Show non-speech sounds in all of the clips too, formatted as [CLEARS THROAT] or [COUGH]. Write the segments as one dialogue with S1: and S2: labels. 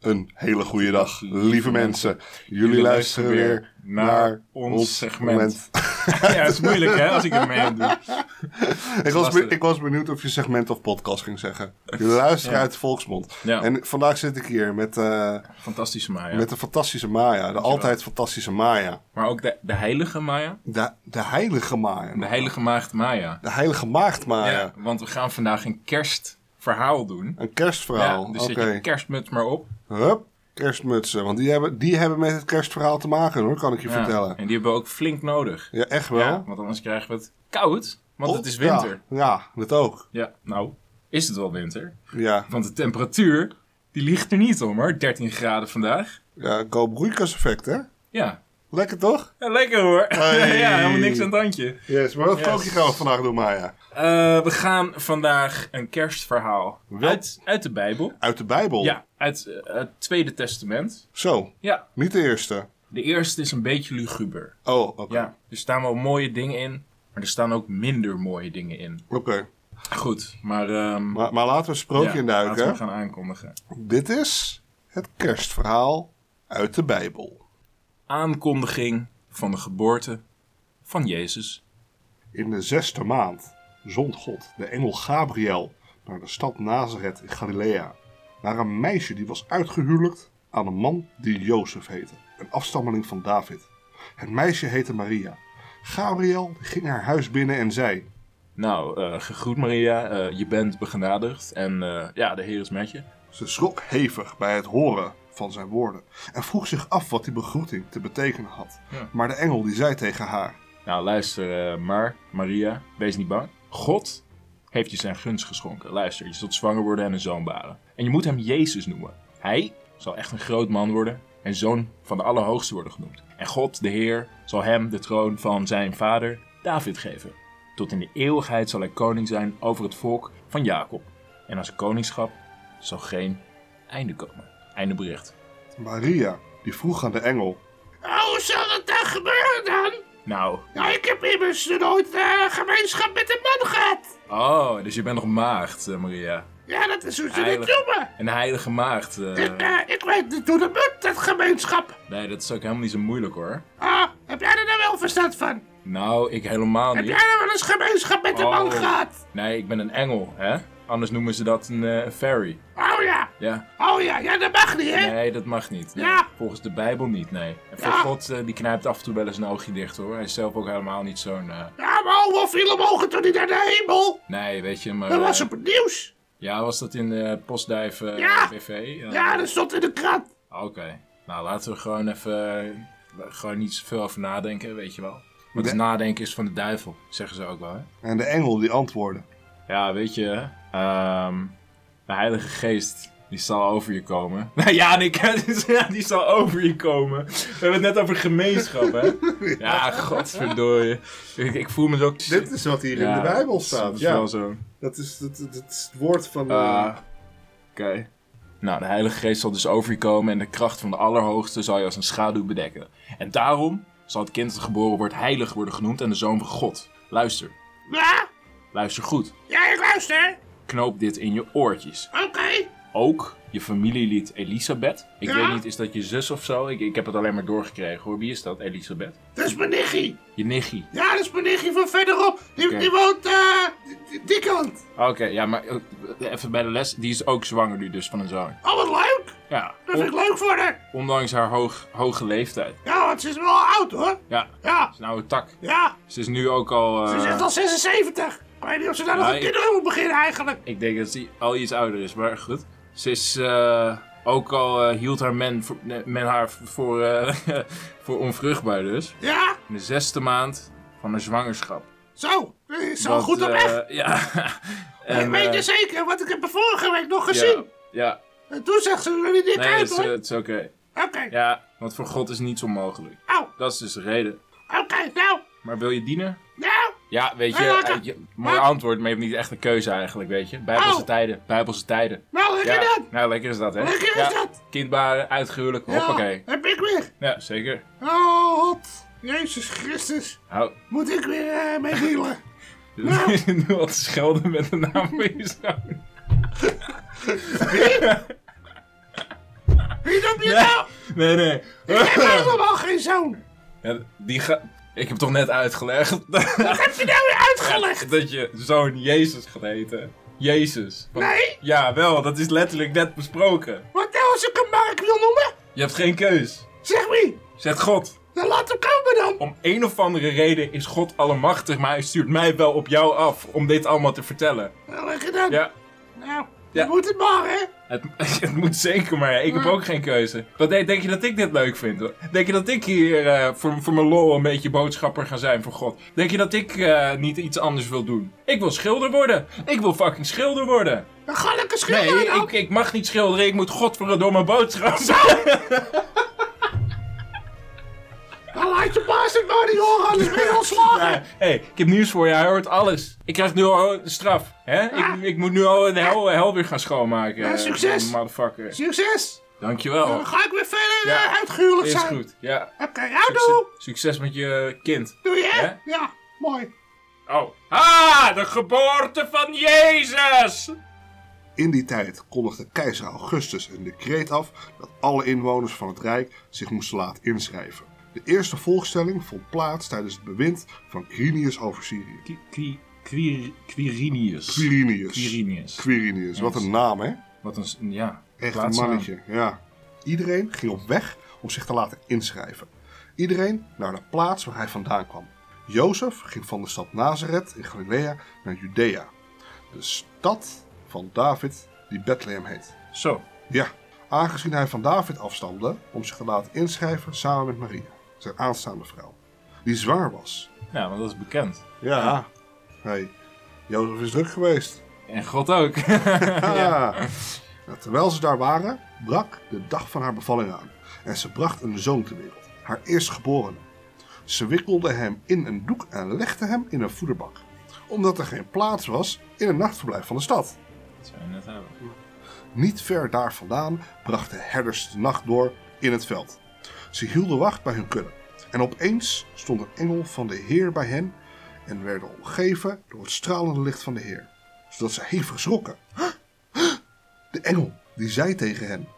S1: Een hele goede dag, lieve mensen. Jullie luisteren weer naar ons segment. [LAUGHS]
S2: ja, het is moeilijk hè, als ik ermee aan doe.
S1: Ik was, be-
S2: Lastig.
S1: ik was benieuwd of je segment of podcast ging zeggen. Je luistert uit de volksmond.
S2: Ja.
S1: En vandaag zit ik hier met, eh,
S2: Fantastische Maya.
S1: met de fantastische Maya. De altijd fantastische Maya.
S2: Maar ook de, de heilige Maya.
S1: De, de heilige Maya.
S2: De heilige maagd Maya.
S1: De heilige maagd Maya.
S2: Ja, want we gaan vandaag een kerstverhaal doen.
S1: Een
S2: Ja,
S1: kerstverhaal.
S2: dus
S1: Oké.
S2: zet je kerstmuts maar op.
S1: Hup, kerstmutsen. Want die hebben, die hebben met het kerstverhaal te maken hoor, kan ik je
S2: Ja,
S1: vertellen.
S2: En die hebben we ook flink nodig.
S1: Ja, echt wel.
S2: Ja, want anders krijgen we het koud, want het is winter.
S1: Ja, ja, dat ook.
S2: Ja. nou, is het wel winter?
S1: Ja,
S2: Want de temperatuur, die ligt er niet om hoor. 13 graden vandaag.
S1: ja go broeikas effect hè?
S2: Ja,
S1: Lekker toch?
S2: Ja, lekker hoor. [LAUGHS]
S1: Hey.
S2: ja, helemaal niks aan het handje.
S1: Yes, maar wat
S2: Yes.
S1: kookje gaan we vandaag doen Maya?
S2: Eh, we gaan vandaag een kerstverhaal
S1: Wel-
S2: uit, uit de Bijbel.
S1: Uit de Bijbel?
S2: Ja, uit eh, het Tweede Testament.
S1: Zo,
S2: Ja,
S1: niet de eerste.
S2: de eerste is een beetje luguber.
S1: Oh, oké.
S2: Ja, er staan wel mooie dingen in, maar er staan ook minder mooie dingen in.
S1: Oké,
S2: Goed, maar... ehm
S1: maar, maar laten we een sprookje
S2: ja,
S1: induiken.
S2: Laten we gaan aankondigen.
S1: Dit is het kerstverhaal uit de Bijbel.
S2: Aankondiging van de geboorte van Jezus.
S1: In de zesde maand zond God de engel Gabriel naar de stad Nazareth in Galilea. Naar een meisje die was uitgehuwelijkd aan een man die Jozef heette, een afstammeling van David. Het meisje heette Maria. Gabriel ging haar huis binnen en zei:
S2: Nou, eh gegroet Maria, eh, je bent begenadigd en eh, ja, de Heer is met je.
S1: Ze schrok hevig bij het horen van zijn woorden en vroeg zich af wat die begroeting te betekenen had.
S2: Ja.
S1: Maar de engel die zei tegen haar:
S2: Nou, luister eh, maar, Maria, wees niet bang. God heeft je zijn gunst geschonken. Luister, je zult zwanger worden en een zoon baren. En je moet hem Jezus noemen. Hij zal echt een groot man worden en zoon van de Allerhoogste worden genoemd. En God, de Heer, zal hem de troon van zijn vader David geven. Tot in de eeuwigheid zal hij koning zijn over het volk van Jacob. En aan zijn koningschap zal geen einde komen. Einde bericht.
S1: Maria, die vroeg aan de engel:
S3: Hoe Oh, zal dat dan gebeuren dan?
S2: Nou,
S3: Nou, ik heb immers nooit eh, gemeenschap met een man gehad.
S2: oh, dus je bent nog maagd, eh, Maria.
S3: Ja, dat is hoe ze dat
S2: Heilig.
S3: noemen.
S2: Een heilige maagd. eh.
S3: Ik, eh, ik weet niet hoe dat moet, dat gemeenschap.
S2: Nee, dat is ook helemaal niet zo moeilijk hoor.
S3: Ah, heb jij er nou wel verstand van?
S2: Nou, ik helemaal
S3: Heb jij
S2: niet.
S3: nou wel eens gemeenschap met een man
S2: Oh.
S3: gehad?
S2: Nee, ik ben een engel, hè? Anders noemen ze dat een eh, fairy.
S3: Oh ja,
S2: Ja,
S3: oh ja, ja, dat mag niet, hè?
S2: nee, dat mag niet. Nee.
S3: Eh? Ja.
S2: Volgens de Bijbel niet, nee. En voor
S3: Ja.
S2: God, eh, die knijpt af en toe wel eens een oogje dicht hoor. Hij is zelf ook helemaal niet zo'n... eh,
S3: Ja, maar hoeveel vielen mogen toen niet naar de hemel?
S2: Nee, weet je, maar...
S3: Dat was
S2: eh,
S3: op het nieuws.
S2: Ja, was dat in de postduif eh,
S3: Ja.
S2: BV?
S3: Ja, dat stond in de krant.
S2: Oké. Nou, laten we gewoon even... eh, gewoon niet zoveel over nadenken, weet je wel. Want
S1: Nee.
S2: nadenken is van de duivel, zeggen ze ook wel, hè?
S1: En de engel die antwoordde:
S2: Ja, weet je, ehm, de Heilige Geest die zal over je komen. [LAUGHS] Nou ja, Nick, het is- ja, die zal over je komen. We hebben het net over gemeenschap,
S1: [LAUGHS]
S2: hè? Ja, godverdorie. Ik, ik voel me zo.
S1: Dit is wat hier in de Bijbel staat.
S2: Dat is
S1: Ja,
S2: wel zo.
S1: dat is dat- dat- dat is het woord van. eh,
S2: Ah, Oké. Nou, de Heilige Geest zal dus over je komen en de kracht van de Allerhoogste zal je als een schaduw bedekken. En daarom zal het kind dat geboren wordt heilig worden genoemd en de zoon van God. Luister,
S3: Ja,
S2: luister goed.
S3: ja, ik luister.
S2: Knoop dit in je oortjes.
S3: Oké.
S2: ook je familielid Elisabeth. Ik
S3: Ja?
S2: weet niet, is dat je zus of zo? Ik, ik heb het alleen maar doorgekregen hoor. Wie is dat, Elisabeth?
S3: Dat is mijn nichtje.
S2: Je nichtje.
S3: Ja, dat is mijn nichtje van verderop. Die,
S2: Oké.
S3: die woont eh, die- die- die kant.
S2: Oké, ja, maar eh, even bij de les. Die is ook zwanger nu dus van een zoon.
S3: Oh, wat leuk!
S2: Ja,
S3: Dat vind ik leuk voor haar.
S2: ondanks haar hoog, hoge leeftijd.
S3: Ja, want ze is wel oud hoor.
S2: Ja,
S3: Ja,
S2: ze is nou een tak.
S3: ja.
S2: Ze is nu ook al...
S3: Ze
S2: eh,
S3: is echt al 76. Ik weet niet of ze daar nog
S2: Nou,
S3: een
S2: ik-
S3: kinderen moet beginnen eigenlijk.
S2: Ik denk dat ze al iets ouder is, maar goed. Ze is... eh, ook al eh, hield haar men, voor- nee, men haar voor, eh, [LAUGHS] voor onvruchtbaar dus.
S3: Ja,
S2: In de zesde maand van haar zwangerschap.
S3: zo. Ze is zo
S2: Want,
S3: goed op weg.
S2: eh,
S3: [LAUGHS]
S2: ja.
S3: ik
S2: En,
S3: weet
S2: eh,
S3: het zeker, want ik heb haar vorige week nog gezien.
S2: Ja, ja.
S3: En toen zegt ze er niet
S2: nee,
S3: uit
S2: het is,
S3: hoor.
S2: eh, het is oké.
S3: Oké,
S2: Ja, want voor God is niets onmogelijk.
S3: nou,
S2: Dat is dus de reden.
S3: oké, nou,
S2: Maar wil je dienen?
S3: nou.
S2: Ja, weet je,
S3: Ja,
S2: eh,
S3: lekker.
S2: je- mooi antwoord, maar je hebt niet echt een keuze eigenlijk, weet je. Bijbelse
S3: Oh.
S2: tijden, Bijbelse tijden.
S3: Nou, lekker
S2: Ja,
S3: dan.
S2: nou lekker is dat, hè?
S3: Lekker is
S2: ja,
S3: dat.
S2: Kindbaren, uitgehuwelijk,
S3: Ja,
S2: hoppakee.
S3: heb ik weer.
S2: Ja, zeker.
S3: Oh, God. Jezus Christus.
S2: Hou.
S3: Moet ik weer eh, mee dealen?
S2: [LAUGHS] nu al te schelden met de naam van je zoon.
S3: op je nou?
S2: Nee, nee.
S3: Ik heb helemaal geen zoon.
S2: [LAUGHS] Ja, die ga... Ik heb toch net uitgelegd
S3: [LAUGHS] Wat heb je nou weer uitgelegd?
S2: dat je zoon Jezus gaat heten. Jezus.
S3: Nee?
S2: Ja, wel, dat is letterlijk net besproken.
S3: Wat nou als ik hem Mark wil noemen?
S2: Je hebt geen keus.
S3: Zeg wie?
S2: Zegt God.
S3: Dan laat hem komen dan.
S2: Om een of andere reden is God allemachtig, maar hij stuurt mij wel op jou af om dit allemaal te vertellen.
S3: Nou, lekker dan.
S2: Ja,
S3: Nou,
S2: Ja.
S3: dat moet het maar, hè?
S2: het, [LAUGHS] het moet zeker, maar ik heb ook geen keuze. Wat denk denk je dat ik dit leuk vind? Denk je dat ik hier eh, voor, voor mijn lol een beetje boodschapper ga zijn voor God? Denk je dat ik eh, niet iets anders wil doen? Ik wil schilder worden. Ik wil fucking schilder worden.
S3: Dan ga lekker schilderen
S2: Nee,
S3: dan.
S2: ik, ik mag niet schilderen. Ik moet God voor een domme boodschap.
S3: Dan laat je baas het maar niet horen, anders ben je ontslagen.
S2: Ja, hey, ik heb nieuws voor je. Hij hoort alles. Ik krijg nu al een straf. Hè? Ik, ik moet nu al een hel, hel weer gaan schoonmaken.
S3: Ah. Ja,
S2: eh,
S3: succes.
S2: Motherfucker.
S3: Succes.
S2: Dankjewel.
S3: Dan ga ik weer verder
S2: Ja.
S3: eh, uitgehuwelijk
S2: Is
S3: zijn.
S2: goed. Ja.
S3: Oké, jou
S2: Succes,
S3: doe.
S2: succes met je kind.
S3: Doe je?
S2: Ja?
S3: Ja, mooi.
S2: Oh. Ah, de geboorte van Jezus!
S1: In die tijd kondigde keizer Augustus een decreet af dat alle inwoners van het Rijk zich moesten laten inschrijven. De eerste volkstelling vond plaats tijdens het bewind van Quirinius over Syrië.
S2: Quirinius.
S1: Quirinius.
S2: Quirinius.
S1: Quirinius, wat een naam hè?
S2: Wat een... s- Ja.
S1: Echt een
S2: plaatsnaam.
S1: mannetje, ja. Iedereen ging op weg om zich te laten inschrijven. Iedereen naar de plaats waar hij vandaan kwam. Jozef ging van de stad Nazareth in Galilea naar Judea. De stad van David die Bethlehem heet.
S2: Zo.
S1: Ja, aangezien hij van David afstamde om zich te laten inschrijven samen met Maria, zijn aanstaande vrouw, die zwaar was.
S2: Nou, want dat is bekend.
S1: Ja. hey, Jozef is druk geweest.
S2: En God ook.
S1: Ja. Nou, terwijl ze daar waren, brak de dag van haar bevalling aan. En ze bracht een zoon ter wereld, haar eerstgeborene. Ze wikkelde hem in een doek en legde hem in een voederbak. Omdat er geen plaats was in een nachtverblijf van de stad.
S2: Dat zou je net hebben.
S1: Niet ver daar vandaan brachten herders de nacht door in het veld. Ze hielden wacht bij hun kudde. En opeens stond een engel van de Heer bij hen en werden omgeven door het stralende licht van de Heer, zodat ze hevig schrokken. [GASPS] De engel die zei tegen hen: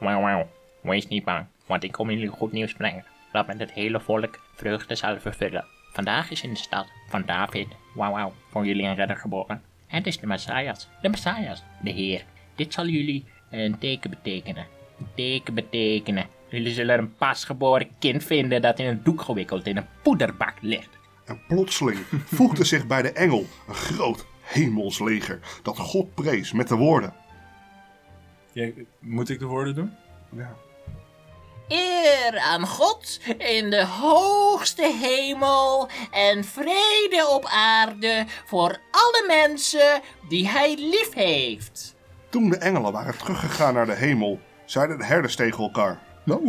S4: Wauw, wauw. Wees niet bang, want ik kom jullie goed nieuws brengen. Dat met het hele volk vreugde zal vervullen. Vandaag is in de stad van David, wauw, wauw, voor jullie een redder geboren. Het is de Messias, de Messias, de Heer. Dit zal jullie een teken betekenen. Een teken betekenen. Jullie zullen een pasgeboren kind vinden dat in een doek gewikkeld in een poederbak ligt.
S1: En plotseling voegde zich bij de engel een groot hemelsleger dat God prees met de woorden:
S2: Jij- moet ik de woorden doen?
S1: ja.
S5: Eer aan God in de hoogste hemel en vrede op aarde voor alle mensen die hij lief heeft.
S1: Toen de engelen waren teruggegaan naar de hemel, zeiden de herders tegen elkaar:
S6: Nou,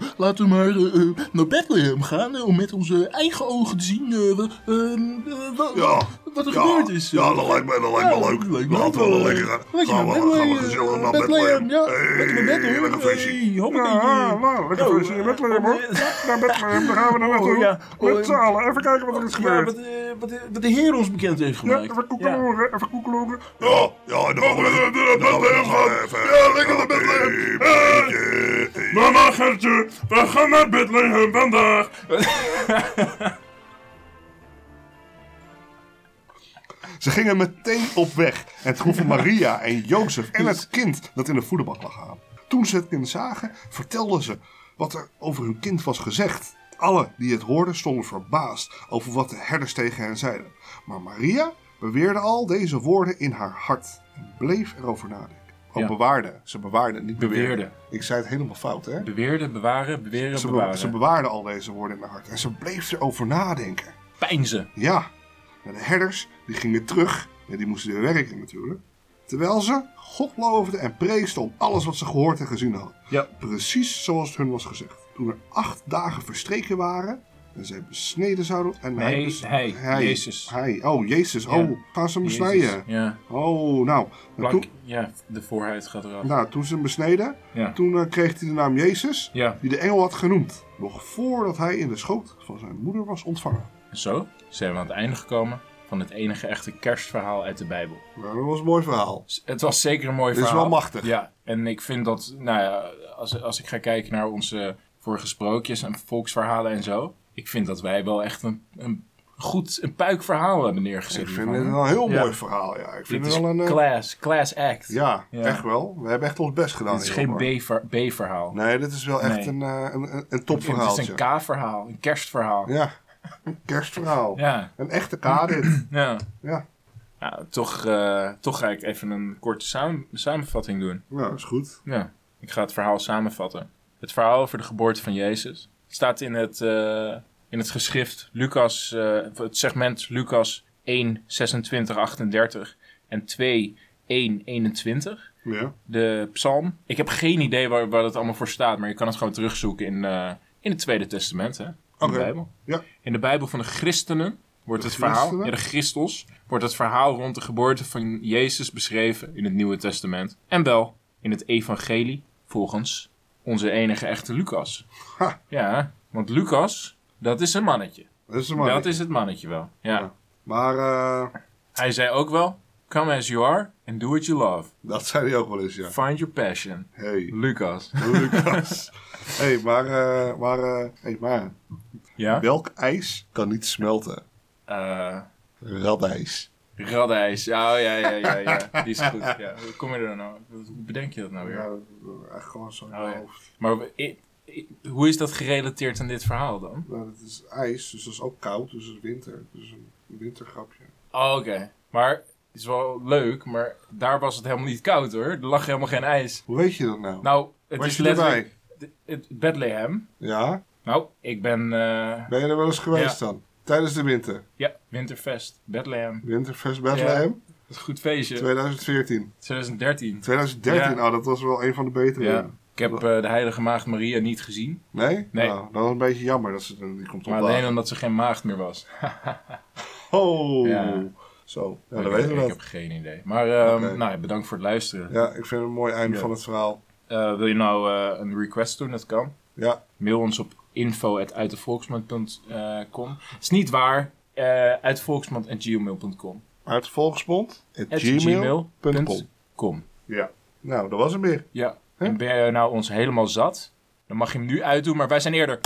S6: eh, laten we maar eh, eh, naar Bethlehem gaan eh, om met onze eigen ogen te zien eh, wa- ehm, eh, wa-
S1: Ja.
S6: wat er
S1: ja,
S6: gebeurd is.
S1: Ja, dat lijkt mij, dat lijkt me
S6: Ja,
S1: leuk.
S6: dat lijkt me
S1: Laten we wel
S6: wel, eh,
S1: lekker gaan.
S6: laten we
S1: Gaan we,
S6: naar
S1: gaan we
S6: Bethlehem,
S1: gezellig
S6: eh,
S1: naar Bethlehem.
S6: Bethlehem, ja. Lekker naar
S1: Hey,
S6: Bethlehem.
S1: lekker
S6: Hey,
S1: feestje.
S6: hoppakee.
S1: Ja, nou, lekker
S6: Nou,
S1: feestje in
S6: eh,
S1: Bethlehem hoor.
S6: eh,
S1: Naar Bethlehem, daar gaan we naar naartoe.
S6: Oh, ja.
S1: Met
S6: Oh,
S1: z'n allen, even kijken wat er is
S6: Ja,
S1: gebeurd.
S6: wat, eh, wat, eh, wat de Heer ons bekend heeft
S1: Ja,
S6: gemaakt.
S1: even koekeloeren, even koekeloeren. Ja, ja, dan gaan we naar Bethlehem gaan. Ja, lekker naar Bethlehem. Mama Gertje, we gaan naar Bethlehem vandaag. Ze gingen meteen op weg en
S2: [LAUGHS]
S1: troffen Maria en Jozef en het kind dat in de voederbak lag aan. Toen ze het kind zagen, vertelden ze wat er over hun kind was gezegd. Alle die het hoorden stonden verbaasd over wat de herders tegen hen zeiden. Maar Maria beweerde al deze woorden in haar hart en bleef erover nadenken. Oh,
S2: Ja.
S1: bewaarde. Ze bewaarde, niet beweerde.
S2: Beweerde.
S1: Ik zei het helemaal fout, hè?
S2: Beweerden, bewaren, beweren,
S1: Ze, be-
S2: bewaren.
S1: ze bewaarde al deze woorden in haar hart en ze bleef erover nadenken.
S2: Pijnzen.
S1: Ja, en de herders die gingen terug. En die moesten weer werken natuurlijk. Terwijl ze God loofden en preesten om alles wat ze gehoord en gezien hadden.
S2: Ja.
S1: Precies zoals het hun was gezegd. Toen er acht dagen verstreken waren. En zij besneden zouden. En
S2: Nee,
S1: bes-
S2: hij, Jezus.
S1: Hij, oh, Jezus.
S2: Ja.
S1: Oh, gaan ze hem
S2: Jezus.
S1: besnijden?
S2: Ja.
S1: Oh, nou. En
S2: Plank,
S1: toen,
S2: ja, de voorhuid gaat eraf.
S1: nou, toen ze hem besneden,
S2: Ja.
S1: toen eh, kreeg hij de naam Jezus.
S2: Ja.
S1: Die de engel had genoemd. Nog voordat hij in de schoot van zijn moeder was ontvangen.
S2: Zo, zijn we aan het einde gekomen van het enige echte kerstverhaal uit de Bijbel.
S1: Nou, dat was een mooi verhaal.
S2: S- Het was zeker een mooi
S1: Dit is
S2: verhaal.
S1: wel machtig.
S2: Ja, en ik vind dat, nou ja, als, als ik ga kijken naar onze vorige sprookjes en volksverhalen en zo. Ik vind dat wij wel echt een, een goed, een puik verhaal hebben neergezet.
S1: Ik vind
S2: hiervan,
S1: dit
S2: hè?
S1: een heel
S2: Ja.
S1: mooi verhaal, ja. Ik vind
S2: Dit
S1: het
S2: is
S1: wel een... eh,
S2: class, class act.
S1: ja,
S2: Ja.
S1: echt wel. We hebben echt ons best gedaan.
S2: Dit is
S1: hier,
S2: geen
S1: hoor.
S2: B-ver- B-verhaal.
S1: Nee, dit is wel echt
S2: Nee.
S1: een, eh, een, een, een
S2: Het is
S1: topverhaaltje.
S2: een K-verhaal, een kerstverhaal.
S1: Ja, een kerstverhaal.
S2: Ja,
S1: Een echte K
S2: [CLEARS THROAT]
S1: dit.
S2: ja.
S1: Ja,
S2: Nou, toch, eh, toch ga ik even een korte samen- samenvatting doen.
S1: nou, is goed.
S2: Ja, ik ga het verhaal samenvatten. Het verhaal over de geboorte van Jezus staat in het, eh, in het geschrift Lucas, eh, het segment Lucas 1, 26, 38 en 2, 1, 21.
S1: Ja.
S2: De psalm. Ik heb geen idee waar, waar dat allemaal voor staat, maar je kan het gewoon terugzoeken in, eh, in het Tweede Testament, hè? In
S1: Oké.
S2: de Bijbel.
S1: Ja.
S2: In de Bijbel van de christenen wordt
S1: De
S2: het verhaal,
S1: christenen?
S2: ja, de christels, wordt het verhaal rond de geboorte van Jezus beschreven in het Nieuwe Testament. En wel in het evangelie volgens onze enige echte Lucas.
S1: Ha.
S2: Ja, want Lucas, dat is een mannetje.
S1: Dat is een mooi.
S2: Dat is het mannetje wel. Ja.
S1: Ja. Maar eh,
S2: Hij zei ook wel, come as you are and do what you love.
S1: dat zei hij ook wel eens, ja.
S2: Find your passion.
S1: Hey,
S2: Lucas.
S1: [LAUGHS]
S2: [LAUGHS]
S1: Lucas. hey, maar, eh, maar, eh, hey, maar,
S2: Ja?
S1: welk ijs kan niet smelten?
S2: Eh
S1: Radijs.
S2: radijs. Ja, oh, ja, ja, ja, ja. Die is goed. Ja. Hoe kom je er nou? Hoe bedenk je dat nou weer?
S1: Ja, echt gewoon zo'n
S2: Oh, ja.
S1: hoofd.
S2: Maar w- i- i- hoe is dat gerelateerd aan dit verhaal dan?
S1: Nou, het is ijs, dus dat is ook koud, dus het is winter. Dus een wintergrapje.
S2: Oh, oké. Maar het is wel leuk, maar daar was het helemaal niet koud hoor. Er lag helemaal geen ijs.
S1: Hoe weet je dat nou?
S2: Nou, het
S1: Was
S2: is
S1: je erbij?
S2: letterlijk... d- Het Bethlehem.
S1: Ja?
S2: Nou, ik ben... eh,
S1: Ben je er wel eens geweest
S2: Ja.
S1: dan? Tijdens de winter.
S2: ja, Winterfest. Bethlehem.
S1: Winterfest Bethlehem,
S2: Dat is een goed feestje.
S1: 2014.
S2: 2013.
S1: 2013,
S2: Ja.
S1: oh, dat was wel een van de betere.
S2: Ja. Ik heb eh, de heilige maagd Maria niet gezien.
S1: Nee?
S2: Nee.
S1: Nou, dat was een beetje jammer dat ze er niet komt
S2: Maar
S1: opdagen.
S2: alleen omdat ze geen maagd meer was.
S1: Oh!
S2: Ja.
S1: Zo, ja,
S2: Ik-
S1: dan weten we
S2: ik,
S1: dat.
S2: heb geen idee. Maar ehm,
S1: Oké.
S2: nou, ja, bedankt voor het luisteren.
S1: Ja, ik vind het een mooi einde
S2: Ja.
S1: van het verhaal.
S2: Eh, wil je nou eh, een request doen? Dat kan.
S1: Ja,
S2: Mail ons op info.uitdevolksmond.com. eh, Het is niet waar. eh uitvolksmond.gmail.com.
S1: uit volgsbond. at
S2: At
S1: gmail punt com.
S2: gmail.com.
S1: Ja. Nou, dat was hem weer.
S2: Ja.
S1: Huh?
S2: En ben je nou ons helemaal zat? Dan mag je hem nu uitdoen, maar wij zijn eerder.